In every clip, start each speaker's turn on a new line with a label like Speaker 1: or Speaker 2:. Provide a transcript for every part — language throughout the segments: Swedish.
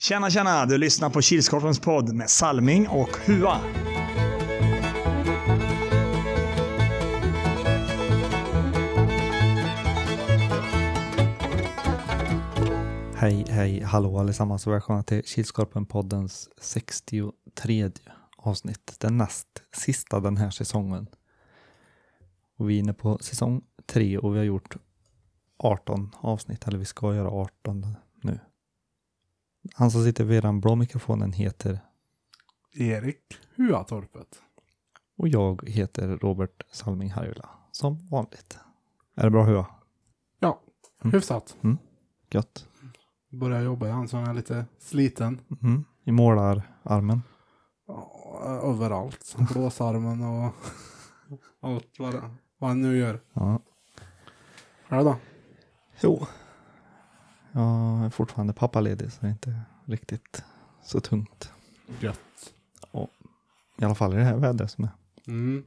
Speaker 1: Tjena, tjena! Du lyssnar på Kilskorpens podd med Salming och Hua.
Speaker 2: Hej, hej, hallå allesammans och välkomna till Kilskorpen-poddens 63 avsnitt. Den näst sista den här säsongen. Och vi är inne på säsong 3 och vi har gjort 18 avsnitt, eller vi ska göra 18 nu. Han som sitter vid den blå mikrofonen heter,
Speaker 3: Erik Huatorpet.
Speaker 2: och jag heter Robert Salming Harjula, som vanligt. Är det bra Hua?
Speaker 3: Ja,
Speaker 2: Mm.
Speaker 3: hyfsat.
Speaker 2: Gött.
Speaker 3: Börjar jobba i han som är lite sliten.
Speaker 2: Mm. I målararmen.
Speaker 3: Ja, Överallt. Blåsarmen och allt vad, det- vad han nu gör.
Speaker 2: Ja.
Speaker 3: Själv då?
Speaker 2: Jo. Jag är fortfarande pappaledig så det är inte riktigt så tungt.
Speaker 3: Gött.
Speaker 2: I alla fall i det här vädret som är.
Speaker 3: Mm.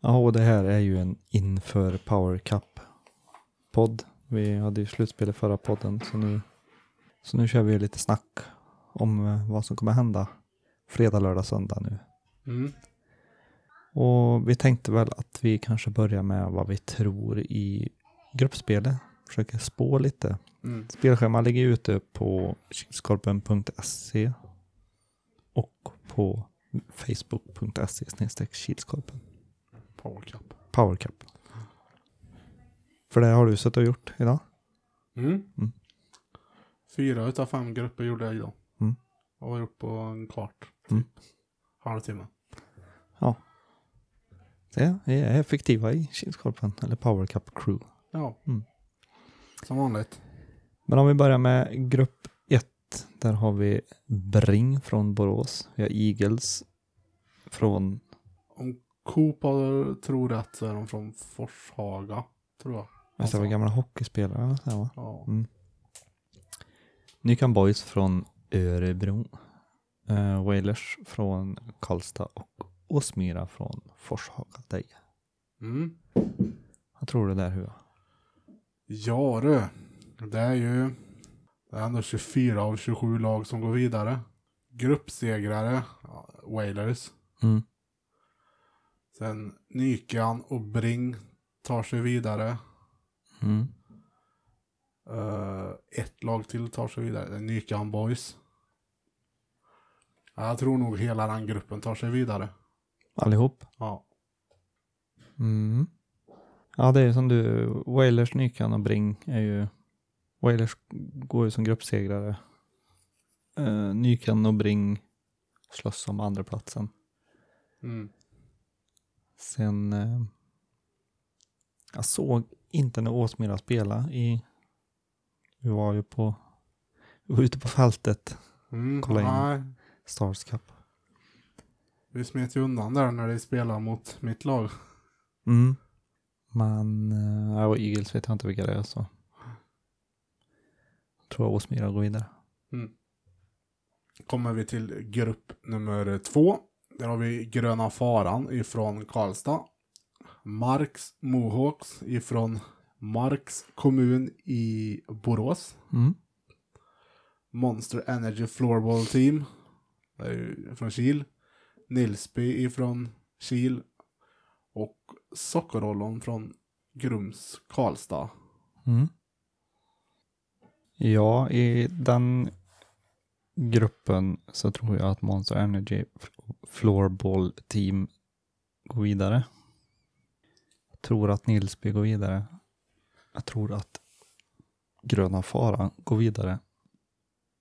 Speaker 2: Ja, och det här är ju en inför Power Cup-podd. Vi hade ju slutspel i förra podden så nu, så nu kör vi lite snack om eh, vad som kommer hända fredag, lördag, söndag nu.
Speaker 3: Mm.
Speaker 2: Och vi tänkte väl att vi kanske börjar med vad vi tror i gruppspelet. Försöker spå lite.
Speaker 3: Mm.
Speaker 2: Spelschema ligger ute på kilskorpen.se och på facebook.se snedstreck kilskorpen.
Speaker 3: Power Cup.
Speaker 2: Powercup. För det har du suttit och gjort idag.
Speaker 3: Mm.
Speaker 2: Mm.
Speaker 3: Fyra utav fem grupper gjorde jag idag.
Speaker 2: Mm.
Speaker 3: Och har gjort på en kvart. Typ.
Speaker 2: Mm.
Speaker 3: Halvtimme.
Speaker 2: Det är effektiva i Kilskorpen, eller Powercup Crew.
Speaker 3: Ja.
Speaker 2: Mm.
Speaker 3: Som vanligt.
Speaker 2: Men om vi börjar med grupp 1. Där har vi Bring från Borås. Vi har Eagles från
Speaker 3: Coop har- tror rätt så är de från Forshaga. Tror jag.
Speaker 2: Alltså, var gamla hockeyspelare eller sådär, va?
Speaker 3: Ja.
Speaker 2: Nykan Boys från Örebro. Eh, Wailers från Karlstad och Åsmyra från Forshaga. Dig.
Speaker 3: Mm.
Speaker 2: Vad tror du där Hua?
Speaker 3: Ja du. Det är ju det är ändå 24 av 27 lag som går vidare. Gruppsegrare, ja, Wailers.
Speaker 2: Mm.
Speaker 3: Sen Nykan och Bring tar sig vidare.
Speaker 2: Mm.
Speaker 3: Eh, ett lag till tar sig vidare. Det är Nykan Boys. Ja, Jag tror nog hela den gruppen tar sig vidare.
Speaker 2: Allihop?
Speaker 3: Ja.
Speaker 2: Mm. Ja, det är ju som du, Wailers, Nykan och Bring är ju, Wailers går ju som gruppsegrare. Eh, Nykan och Bring slåss om andra platsen.
Speaker 3: Mm.
Speaker 2: Sen, eh, jag såg inte när Åsmyra spelade i, vi var ju på, vi var ute på fältet,
Speaker 3: Mm.
Speaker 2: Kolla in.
Speaker 3: Nej,
Speaker 2: Stars Cup.
Speaker 3: vi smet ju undan där när de spelade mot mitt lag.
Speaker 2: Mm. Men, eh, ja, och Eagles vet jag inte vilka det är så. Tror jag Åsmyra går vidare.
Speaker 3: kommer vi till grupp nummer två. Där har vi Gröna Faran ifrån Karlstad. Marks Mohawks ifrån Marks kommun i Borås.
Speaker 2: Mm.
Speaker 3: Monster Energy Floorball Team. Det är ju från Kil. Nilsby ifrån Kil. Och Sockerollon från Grums Karlstad.
Speaker 2: Mm. Ja, i den gruppen så tror jag att Monster Energy F- Floorball Team går vidare. Jag tror att Nilsby går vidare. Jag tror att Gröna Faran går vidare.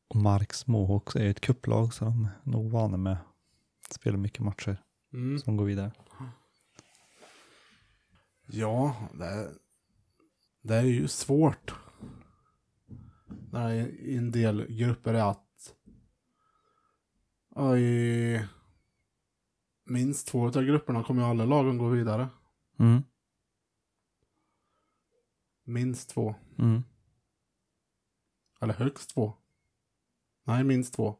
Speaker 2: Och Marks Mohawks är ju ett kupplag så de är nog vana med att spela mycket matcher
Speaker 3: Mm.
Speaker 2: som går vidare.
Speaker 3: Ja, det är, det är ju svårt. När det är i en del grupper är att ja, i minst två av grupperna kommer ju alla lagen gå vidare.
Speaker 2: Mm.
Speaker 3: Minst två.
Speaker 2: Mm.
Speaker 3: Eller högst två. Nej, minst två.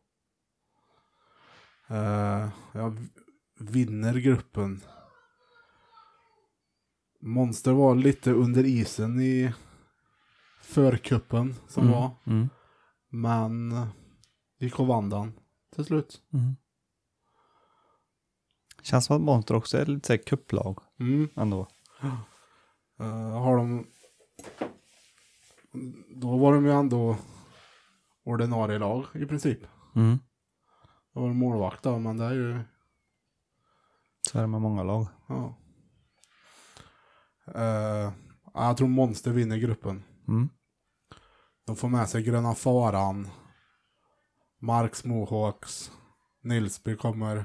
Speaker 3: Eh, jag v- vinner gruppen. Monster var lite under isen i förkuppen som
Speaker 2: Mm.
Speaker 3: var.
Speaker 2: Mm.
Speaker 3: Men gick och vann den till slut.
Speaker 2: Mm. Känns som att Monster också är lite så här kupplag
Speaker 3: Mm.
Speaker 2: ändå.
Speaker 3: Eh, har de... Då var de ju ändå ordinarie lag i princip.
Speaker 2: Mm.
Speaker 3: Då var de målvakt då, men det är ju...
Speaker 2: Så är det med många lag.
Speaker 3: Ja. Eh, jag tror Monster vinner gruppen.
Speaker 2: Mm.
Speaker 3: De får med sig Gröna Faran, Marks Mohawks, Nilsby kommer.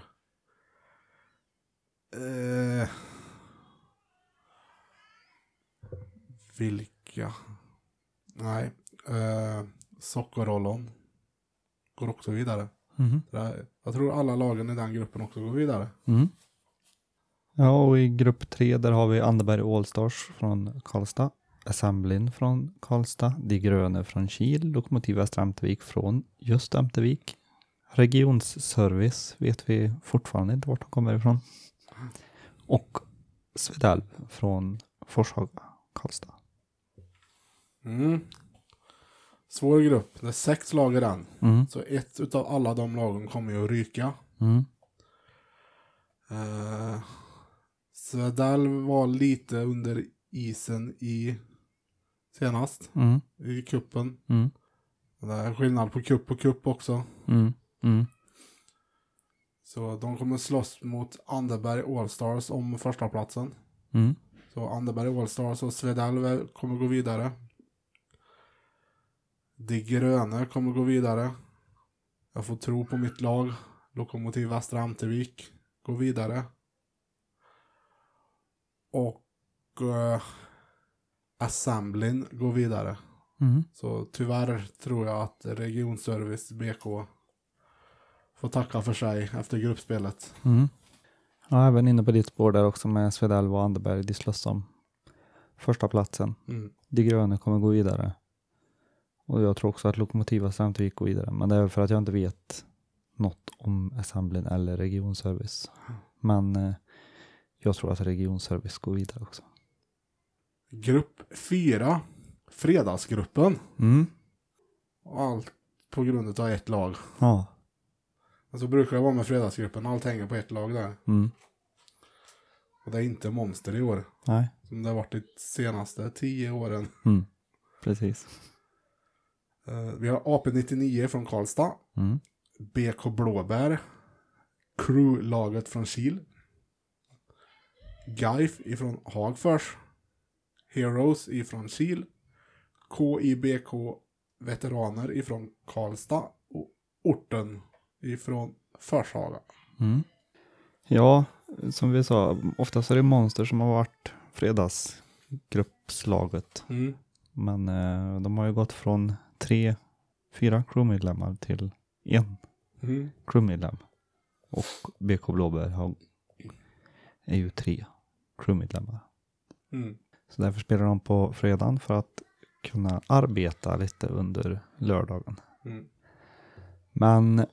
Speaker 3: Eh, vilka? Nej. Eh, Sockerollon går också vidare.
Speaker 2: Mhm.
Speaker 3: Det här- Jag tror alla lagen i den gruppen också går vidare.
Speaker 2: Mm. Ja, och i grupp tre där har vi Anderberg Allstars från Karlstad, Assemblin från Karlstad, De Gröne från Kil, Lokomotiv Västra Ämtervik från just Ämtervik. Regionsservice vet vi fortfarande inte vart de kommer ifrån. Och Svedalv från Forshaga, Karlstad.
Speaker 3: Mm. Svår grupp. Det är sex lag i den.
Speaker 2: Mm.
Speaker 3: Så ett utav alla de lagen kommer ju att ryka.
Speaker 2: Mm.
Speaker 3: Eh, Svedal var lite under isen i senast
Speaker 2: Mm.
Speaker 3: i kuppen.
Speaker 2: Mm.
Speaker 3: Det är skillnad på kupp och kupp också.
Speaker 2: Mm. Mm.
Speaker 3: Så de kommer slåss mot Anderberg Allstars om första platsen.
Speaker 2: Mm.
Speaker 3: Så Anderberg Allstars och Svedal kommer gå vidare. De gröna kommer gå vidare. Jag får tro på mitt lag. Lokomotiv Västra Amtervik går vidare. Och eh, Assemblin går vidare.
Speaker 2: Mm.
Speaker 3: Så tyvärr tror jag att Regionservice BK får tacka för sig efter gruppspelet.
Speaker 2: Mm. Ja, även inne på ditt spår där också med Svedalv och Anderberg. De slåss om första platsen.
Speaker 3: Mm.
Speaker 2: De gröna kommer gå vidare. Och jag tror också att Lokomotiva samtidigt går vidare. Men det är för att jag inte vet något om Assemblin eller Regionservice. Men eh, jag tror att Regionservice går vidare också.
Speaker 3: Grupp 4, Fredagsgruppen.
Speaker 2: Mm.
Speaker 3: Och allt på grund av ett lag.
Speaker 2: Ja.
Speaker 3: Men så brukar det vara med fredagsgruppen. Allt hänger på ett lag där.
Speaker 2: Mm.
Speaker 3: Och det är inte Monster i år.
Speaker 2: Nej.
Speaker 3: Som det har varit de senaste tio åren.
Speaker 2: Mm. Precis.
Speaker 3: Eh, vi har AP-99 från Karlstad.
Speaker 2: Mm.
Speaker 3: BK Blåbär. Crew-laget från Kil. GAIF ifrån Hagfors. Heroes ifrån Kil. KIBK Veteraner ifrån Karlstad. Och Orten ifrån Forshaga.
Speaker 2: Mm. Ja, som vi sa, oftast är det Monster som har varit fredagsgruppslaget.
Speaker 3: Mm.
Speaker 2: Men eh, de har ju gått från tre, fyra crewmedlemmar till en
Speaker 3: Mm.
Speaker 2: crewmedlem. Och BK Blåbär har, är ju tre crewmedlemmar.
Speaker 3: Mm.
Speaker 2: Så därför spelar de på fredagen för att kunna arbeta lite under lördagen.
Speaker 3: Mm.
Speaker 2: Men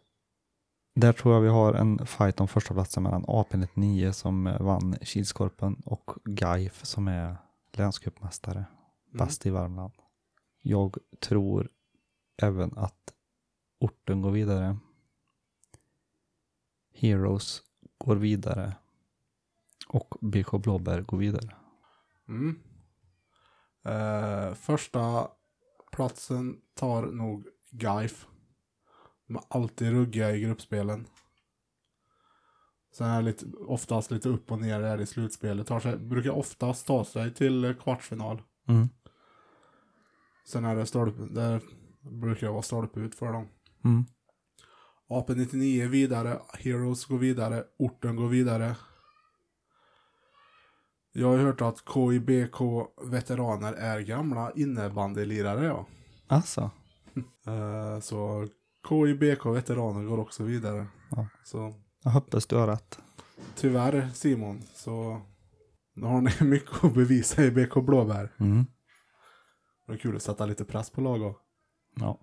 Speaker 2: där tror jag vi har en fight om första platsen mellan AP-99 som eh, vann Kilskorpen och GAIF som är länscupmästare bäst i Värmland. Jag tror även att orten går vidare. Heroes går vidare. Och BK Blåbär går vidare.
Speaker 3: Mm. Eh, första platsen tar nog Gaif. De är alltid ruggiga i gruppspelen. Sen är det lite, oftast lite upp och ner där i slutspelet. Tar sig, brukar oftast ta sig till eh, kvartsfinal.
Speaker 2: Mm.
Speaker 3: Sen är det stolp, där brukar det vara stolp ut för dem.
Speaker 2: Mm.
Speaker 3: AP-99 är vidare, Heroes går vidare, Orten går vidare. Jag har ju hört att KIBK veteraner är gamla innebandylirare ja.
Speaker 2: Alltså.
Speaker 3: Eh, så KIBK veteraner går också vidare.
Speaker 2: Ja.
Speaker 3: Så
Speaker 2: Jag hoppas du har rätt.
Speaker 3: tyvärr Simon, så nu har ni mycket att bevisa i BK Blåbär.
Speaker 2: Mm.
Speaker 3: Det är kul att sätta lite press på lag också.
Speaker 2: Ja.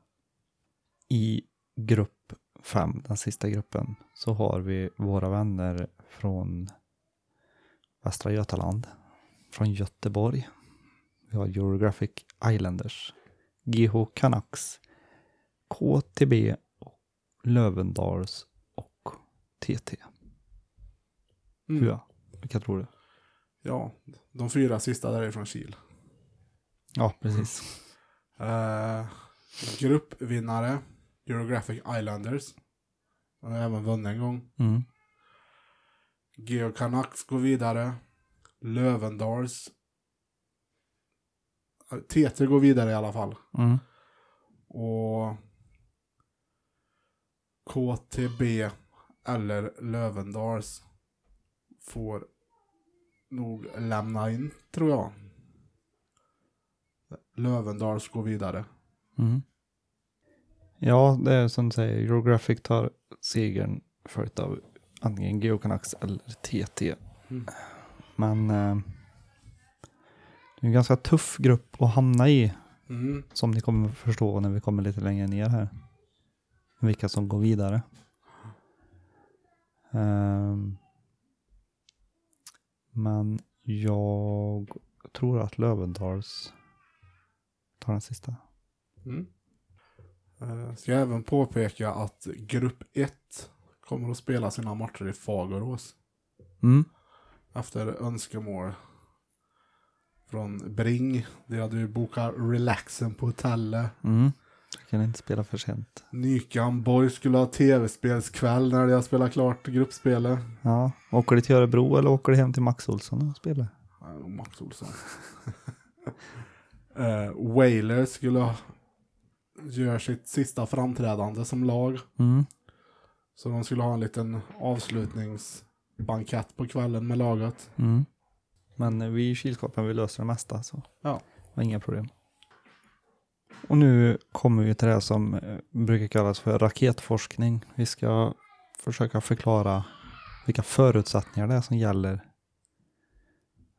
Speaker 2: I grupp fem, den sista gruppen, så har vi våra vänner från Västra Götaland, från Göteborg. Vi har Geographic Islanders, GH Canucks, KTB och Lövendals och TT.
Speaker 3: Mm.
Speaker 2: Hur ja. Vilka tror du?
Speaker 3: Ja, de fyra sista där är från Kil.
Speaker 2: Ja, precis.
Speaker 3: Eh, gruppvinnare, Geographic Islanders. De har även vunnit en gång.
Speaker 2: Mm.
Speaker 3: Geo Canucks går vidare. Lövendals. TT Eh, går vidare i alla fall.
Speaker 2: Mm.
Speaker 3: Och KTB eller Lövendals får nog lämna in, tror jag. Lövendals går vidare.
Speaker 2: Mm. Ja, det är som du säger, Eurographic tar segern följt av antingen Geocanax eller TT.
Speaker 3: Mm.
Speaker 2: Men eh, det är en ganska tuff grupp att hamna i,
Speaker 3: Mm.
Speaker 2: som ni kommer förstå när vi kommer lite längre ner här. Vilka som går vidare. Ehm, men jag tror att Lövendals tar den sista.
Speaker 3: Mm. Eh, Ska jag även påpeka att grupp 1 kommer att spela sina matcher i Fagerås.
Speaker 2: Mm.
Speaker 3: Efter önskemål från Bring. De hade ju bokat relaxen på hotellet.
Speaker 2: Mm. Jag kan inte spela för sent.
Speaker 3: Nykan Boy skulle ha tv-spelskväll när de har spelat klart gruppspelet.
Speaker 2: Ja. Åker du till Örebro eller åker du hem till Max Olsson och spelar?
Speaker 3: Nej, det var Max Olsson. uh, Whalers skulle ha- göra sitt sista framträdande som lag.
Speaker 2: Mm.
Speaker 3: Så de skulle ha en liten avslutningsbankett på kvällen med laget.
Speaker 2: Mm. Men vi i kylskåpen, vi löser det mesta så
Speaker 3: Ja.
Speaker 2: det var inga problem. Och nu kommer vi till det här som eh, brukar kallas för raketforskning. Vi ska försöka förklara vilka förutsättningar det är som gäller.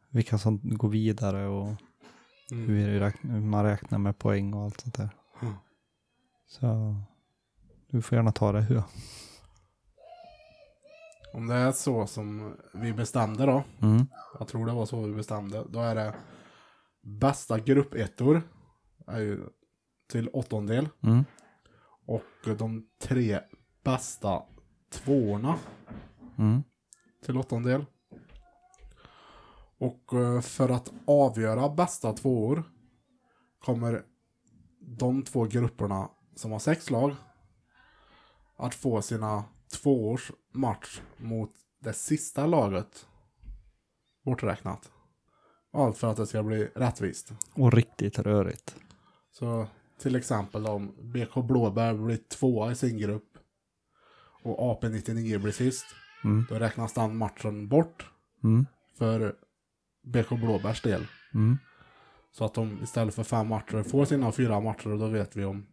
Speaker 2: Vilka som går vidare och
Speaker 3: Mm.
Speaker 2: hur räkn- hur man räknar med poäng och allt sånt där.
Speaker 3: Mm.
Speaker 2: Så du får gärna ta det hur.
Speaker 3: Om det är så som vi bestämde då,
Speaker 2: Mm.
Speaker 3: jag tror det var så vi bestämde, då är det bästa gruppettor är ju till åttondel
Speaker 2: Mm.
Speaker 3: och de tre bästa tvåorna
Speaker 2: Mm.
Speaker 3: till åttondel. Och eh, för att avgöra bästa tvåor kommer de två grupperna som har sex lag att få sina tvåårs match mot det sista laget borträknat. Allt för att det ska bli rättvist.
Speaker 2: Och riktigt rörigt.
Speaker 3: Så till exempel om BK Blåbär blir tvåa i sin grupp och AP 99 blir sist,
Speaker 2: Mm.
Speaker 3: då räknas den matchen bort
Speaker 2: Mm.
Speaker 3: för BK Blåbärs del.
Speaker 2: Mm.
Speaker 3: Så att de istället för fem matcher får sina fyra matcher och då vet vi om...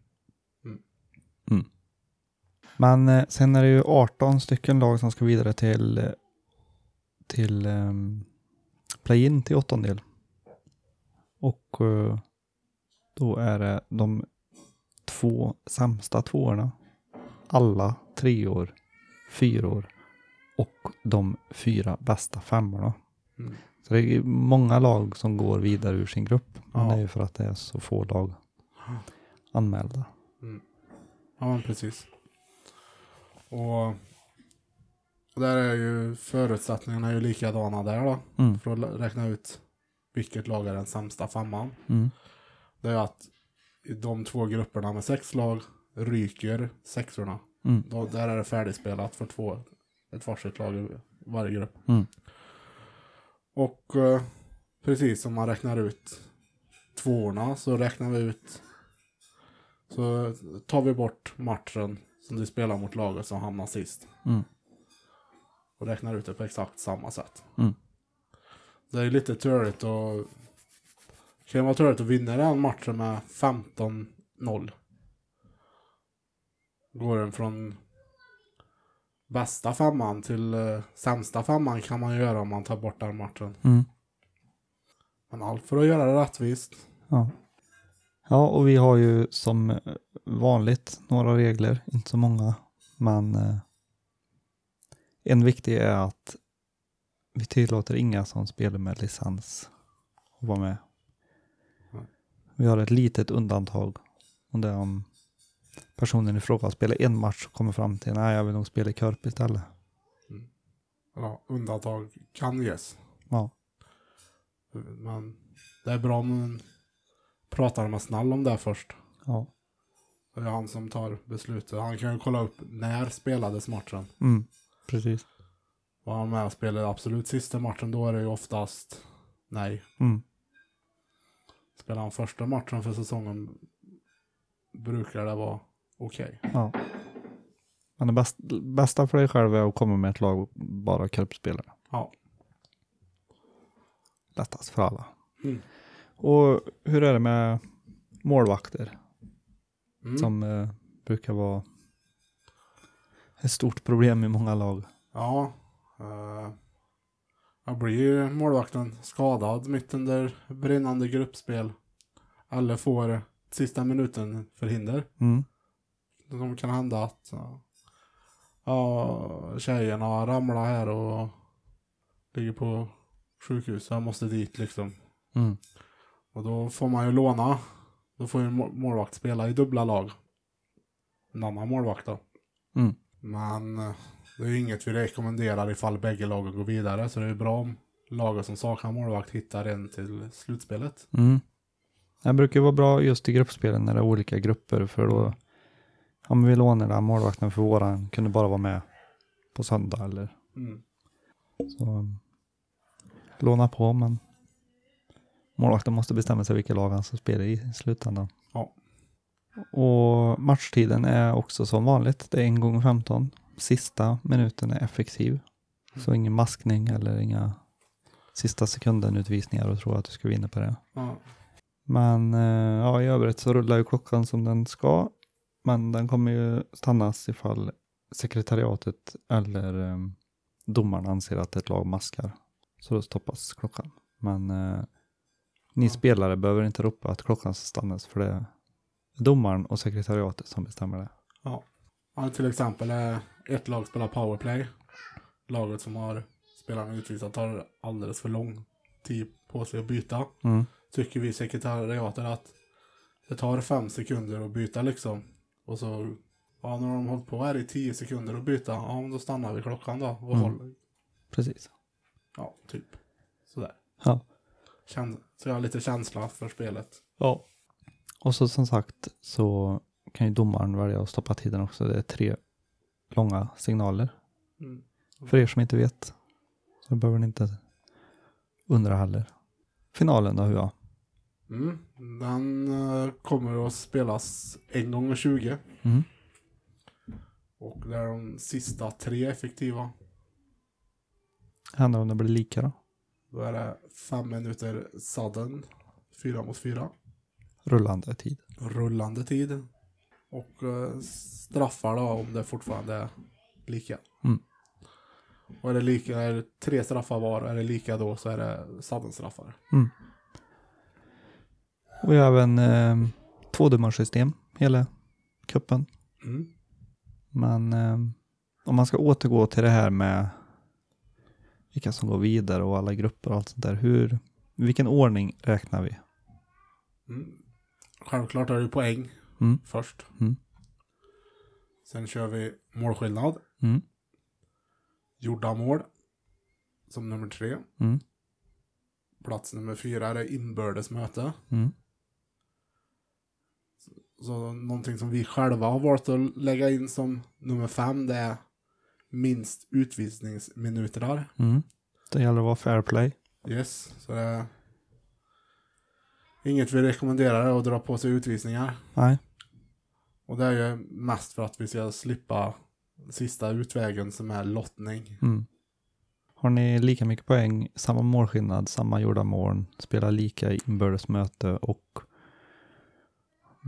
Speaker 2: Men eh, sen är det ju 18 stycken lag som ska vidare till, eh, till ehm, play-in till åttondel. Och eh, då är det de två sämsta tvåorna. Alla treor, fyror och de fyra bästa femmorna.
Speaker 3: Mm.
Speaker 2: Så det är ju många lag som går vidare ur sin grupp. Men
Speaker 3: Ja.
Speaker 2: det är ju för att det är så få lag anmälda.
Speaker 3: Ja, men precis. Och... och där är ju förutsättningarna är ju likadana där då.
Speaker 2: Mm.
Speaker 3: För att lä- räkna ut vilket lag är den sämsta femman.
Speaker 2: Mm.
Speaker 3: Det är att i de två grupperna med sex lag ryker sexorna.
Speaker 2: Mm.
Speaker 3: Då, där är det färdigspelat för två, ett varsitt lag i varje grupp.
Speaker 2: Mm.
Speaker 3: Och eh, precis som man räknar ut tvåorna så räknar vi ut så tar vi bort matchen som du spelar mot laget som hamnar sist.
Speaker 2: Mm.
Speaker 3: Och räknar ut det på exakt samma sätt.
Speaker 2: Mm.
Speaker 3: Det är lite törligt och det kan vara törligt att vinna den matchen med 15-0. Går den från bästa femman till eh, sämsta femman kan man göra om man tar bort den matchen.
Speaker 2: Mm.
Speaker 3: Men allt för att göra det rättvist.
Speaker 2: Ja. ja, och vi har ju som eh, vanligt några regler, inte så många, men eh, en viktig är att vi tillåter inga som spelar med licens att vara med.
Speaker 3: Nej.
Speaker 2: Vi har ett litet undantag och det är om personen i fråga spelar en match och kommer fram till nej, jag vill nog spela i Körp istället.
Speaker 3: Ja, undantag kan ges.
Speaker 2: Ja.
Speaker 3: Men det är bra om man pratar med Snall om det först.
Speaker 2: ja.
Speaker 3: Det är han som tar beslutet. Han kan ju kolla upp när spelades matchen.
Speaker 2: Mm. Precis.
Speaker 3: Var han med och spelade absolut sista matchen då är det ju oftast nej.
Speaker 2: Mm.
Speaker 3: Spelar han första matchen för säsongen brukar det vara okej.
Speaker 2: Ja. Men det bästa, bästa för dig själv är att komma med ett lag och bara Körpspelare.
Speaker 3: Ja.
Speaker 2: Lättast för alla.
Speaker 3: Mm.
Speaker 2: Och hur är det med målvakter?
Speaker 3: Mm.
Speaker 2: som eh, brukar vara ett stort problem i många lag.
Speaker 3: Ja. eh, jag blir ju målvakten skadad mitt under brinnande gruppspel. Eller får sista minuten förhinder.
Speaker 2: Mm.
Speaker 3: som kan hända att ja, ja, tjejerna ramlar här och ligger på sjukhus. Jag måste dit liksom.
Speaker 2: Mm.
Speaker 3: Och då får man ju låna. Då får ju en må- målvakt spela i dubbla lag. En annan målvakt då.
Speaker 2: Mm.
Speaker 3: Men eh, det är ju inget vi rekommenderar ifall bägge lagen går vidare. Så det är ju bra om laget som saknar målvakt hittar en till slutspelet.
Speaker 2: Mm. Det brukar vara bra just i gruppspelen när det är olika grupper för då, ja men vi lånar den här målvakten för våran, kunde bara vara med på söndag eller
Speaker 3: Mm.
Speaker 2: så. mm, Låna på men målvakten måste bestämma sig vilka lag han ska spela i i slutändan.
Speaker 3: Ja.
Speaker 2: Och matchtiden är också som vanligt, det är en gång 15. Sista minuten är effektiv. Så
Speaker 3: Mm.
Speaker 2: ingen maskning eller inga sista sekunden utvisningar och tro att du ska vinna på det.
Speaker 3: Ja.
Speaker 2: Men eh, ja, i övrigt så rullar ju klockan som den ska. Men den kommer ju stannas ifall sekretariatet eller eh, domaren anser att ett lag maskar. Så då stoppas klockan. Men eh, ni
Speaker 3: Ja.
Speaker 2: spelare behöver inte ropa att klockan ska stannas för det är domaren och sekretariatet som bestämmer det.
Speaker 3: Ja, till exempel eh, ett lag spelar powerplay. Laget som har spelarna utvisat tar alldeles för lång tid på sig att byta.
Speaker 2: Mm.
Speaker 3: Tycker vi i sekretariatet att det tar fem sekunder att byta liksom. Och så, ja när de hållit på här i tio sekunder att byta, ja men då stannar vi klockan då och
Speaker 2: Mm.
Speaker 3: håller.
Speaker 2: Precis.
Speaker 3: Ja, typ. Sådär.
Speaker 2: Ja.
Speaker 3: Kän- så jag har lite känsla för spelet.
Speaker 2: ja. Och så som sagt så kan ju domaren välja att stoppa tiden också. Det är tre långa signaler.
Speaker 3: Mm.
Speaker 2: För er som inte vet så behöver ni inte undra heller. Finalen då, hur jag?
Speaker 3: Mm. Den eh, kommer att spelas en gånger 20.
Speaker 2: Mm.
Speaker 3: Och det är de sista tre effektiva.
Speaker 2: Händer om det blir lika då?
Speaker 3: Då är det fem minuter sudden, fyra mot fyra,
Speaker 2: Rullande tid.
Speaker 3: rullande tid. Och eh, straffar då om det fortfarande är lika.
Speaker 2: Mm.
Speaker 3: Och är det lika, är det tre straffar var, är det lika då så är det sudden straffar.
Speaker 2: Och vi har även eh, tvådummarsystem hela kuppen.
Speaker 3: Mm.
Speaker 2: Men eh, om man ska återgå till det här med vilka som går vidare och alla grupper och allt sånt där. Hur, i vilken ordning räknar vi?
Speaker 3: Mm. Självklart är det ju poäng
Speaker 2: Mm.
Speaker 3: först.
Speaker 2: Mm.
Speaker 3: Sen kör vi målskillnad,
Speaker 2: Mm.
Speaker 3: gjorda mål, som nummer tre.
Speaker 2: Mm.
Speaker 3: Plats nummer fyra är det inbördesmöte.
Speaker 2: Mm.
Speaker 3: Så någonting som vi själva har valt att lägga in som nummer fem det är minst utvisningsminuter där.
Speaker 2: Mm. Det gäller att vara fair play.
Speaker 3: Yes, så det är inget vi rekommenderar är att dra på sig utvisningar.
Speaker 2: Nej.
Speaker 3: Och det är ju mest för att vi ska slippa sista utvägen som är lottning.
Speaker 2: Mm. Har ni lika mycket poäng, samma målskillnad, samma gjorda mål, spelar lika i inbördes möte och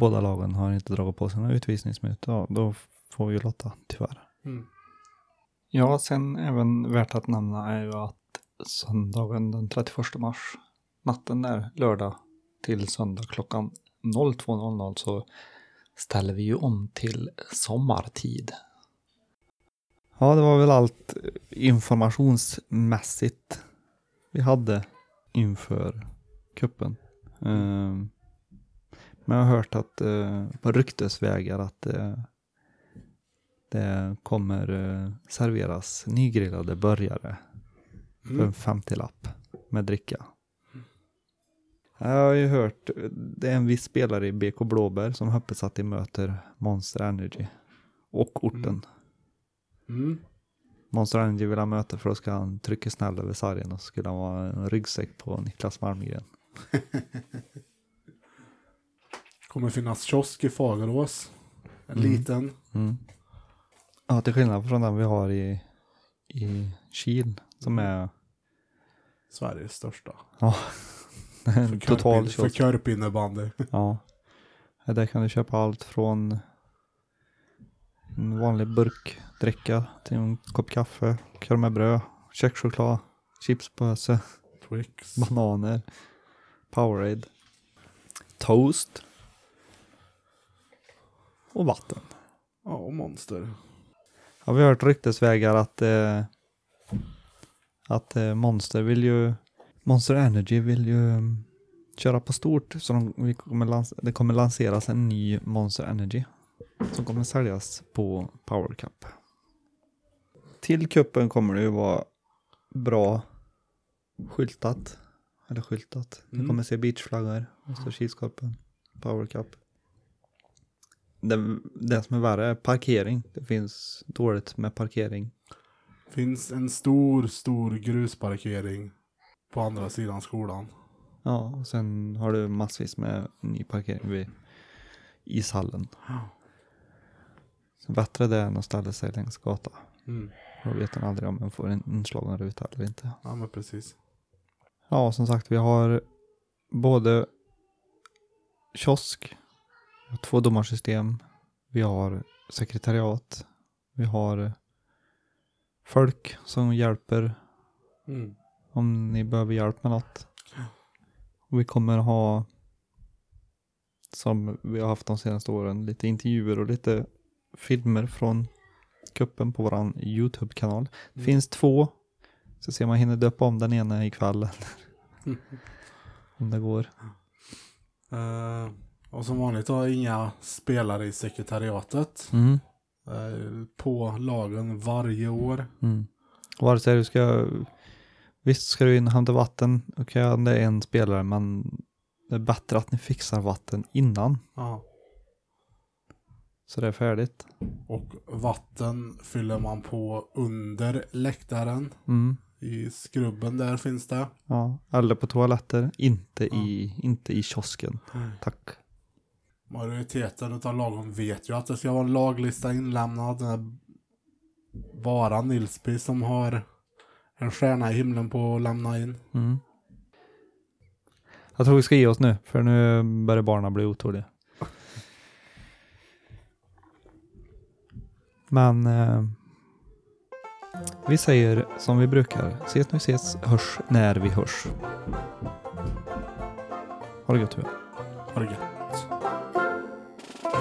Speaker 2: båda lagen har inte dragit på sina utvisningsminuter, ja, då får vi ju lotta tyvärr.
Speaker 3: Mm.
Speaker 2: Ja, sen även värt att nämna är ju att söndagen den 31 mars, natten där, lördag till söndag klockan 02.00 så ställer vi ju om till sommartid. Ja, det var väl allt informationsmässigt vi hade inför kuppen. Ehm, Men jag har hört att eh, på ryktesvägar att eh, det kommer eh, serveras nygrillade burgare för en
Speaker 3: Mm.
Speaker 2: 50-lapp med dricka. Jag har ju hört, det är en viss spelare i BK Blåbär som hoppas att de möter Monster Energy och orten.
Speaker 3: Mm. Mm.
Speaker 2: Monster Energy vill han möta för då ska han trycka snäll över sargen och så skulle han vara en ryggsäck på Niklas Malmgren.
Speaker 3: Kommer finnas kiosk i Fagerås. En
Speaker 2: Mm.
Speaker 3: liten.
Speaker 2: Ja, till skillnad från den vi har i, i Kil som
Speaker 3: Mm.
Speaker 2: är
Speaker 3: Sveriges största.
Speaker 2: en total
Speaker 3: För
Speaker 2: kiosk.
Speaker 3: körpinnebandy.
Speaker 2: Ja. Ja, Där kan du köpa allt från en vanlig burkdricka till en kopp kaffe, korv med bröd, kexchoklad, chipspåse,
Speaker 3: Twix.
Speaker 2: bananer, Powerade, toast och vatten.
Speaker 3: Ja, och monster.
Speaker 2: Ja, vi har hört ryktesvägar att, eh, att eh, Monster vill ju, Monster Energy vill ju mm, köra på stort. Så de, vi kommer lans- det kommer lanseras en ny Monster Energy som kommer säljas på Power Cup. Till kuppen kommer det ju vara bra skyltat. Eller skyltat. Vi
Speaker 3: Mm.
Speaker 2: kommer se beachflaggor och så Kilskorpen, Power Cup. Det, det som är värre är parkering. Det finns dåligt med parkering.
Speaker 3: Finns en stor, stor grusparkering på andra sidan skolan.
Speaker 2: Ja, och sen har du massvis med ny parkering vid ishallen.
Speaker 3: Ja.
Speaker 2: Så bättre det än att ställa sig längs gatan.
Speaker 3: Mm.
Speaker 2: Då vet man aldrig om man får en inslagen ruta eller inte.
Speaker 3: Ja, men precis.
Speaker 2: Ja, som sagt, vi har både kiosk, vi har två domarsystem, vi har sekretariat, vi har folk som hjälper
Speaker 3: Mm.
Speaker 2: om ni behöver hjälp med något. Och vi kommer ha, som vi har haft de senaste åren, lite intervjuer och lite filmer från kuppen på vår YouTube-kanal. Det
Speaker 3: Mm.
Speaker 2: finns två, så ser man hinner döpa om den ena ikväll. om det går.
Speaker 3: Eh, och som vanligt har jag inga spelare i sekretariatet.
Speaker 2: Mm.
Speaker 3: Eh, på lagen varje år.
Speaker 2: Mm. Vare sig du ska, visst ska du in och hämta vatten, okej om det är en spelare, men det är bättre att ni fixar vatten innan,
Speaker 3: Ja.
Speaker 2: så det är färdigt.
Speaker 3: Och vatten fyller man på under läktaren.
Speaker 2: Mm.
Speaker 3: I skrubben där finns det.
Speaker 2: Ja, eller på toaletter. Inte, i, inte i kiosken.
Speaker 3: Mm.
Speaker 2: Tack.
Speaker 3: Majoriteten av lagen vet ju att det ska vara en laglista inlämnad. Det är bara Nilsby som har en stjärna i himlen på att lämna in.
Speaker 2: Mm. Jag tror vi ska ge oss nu, för nu börjar barnen bli otåliga. Men eh, vi säger som vi brukar. Ses när vi ses, hörs när vi hörs. Ha det gött. Hua.
Speaker 3: Har det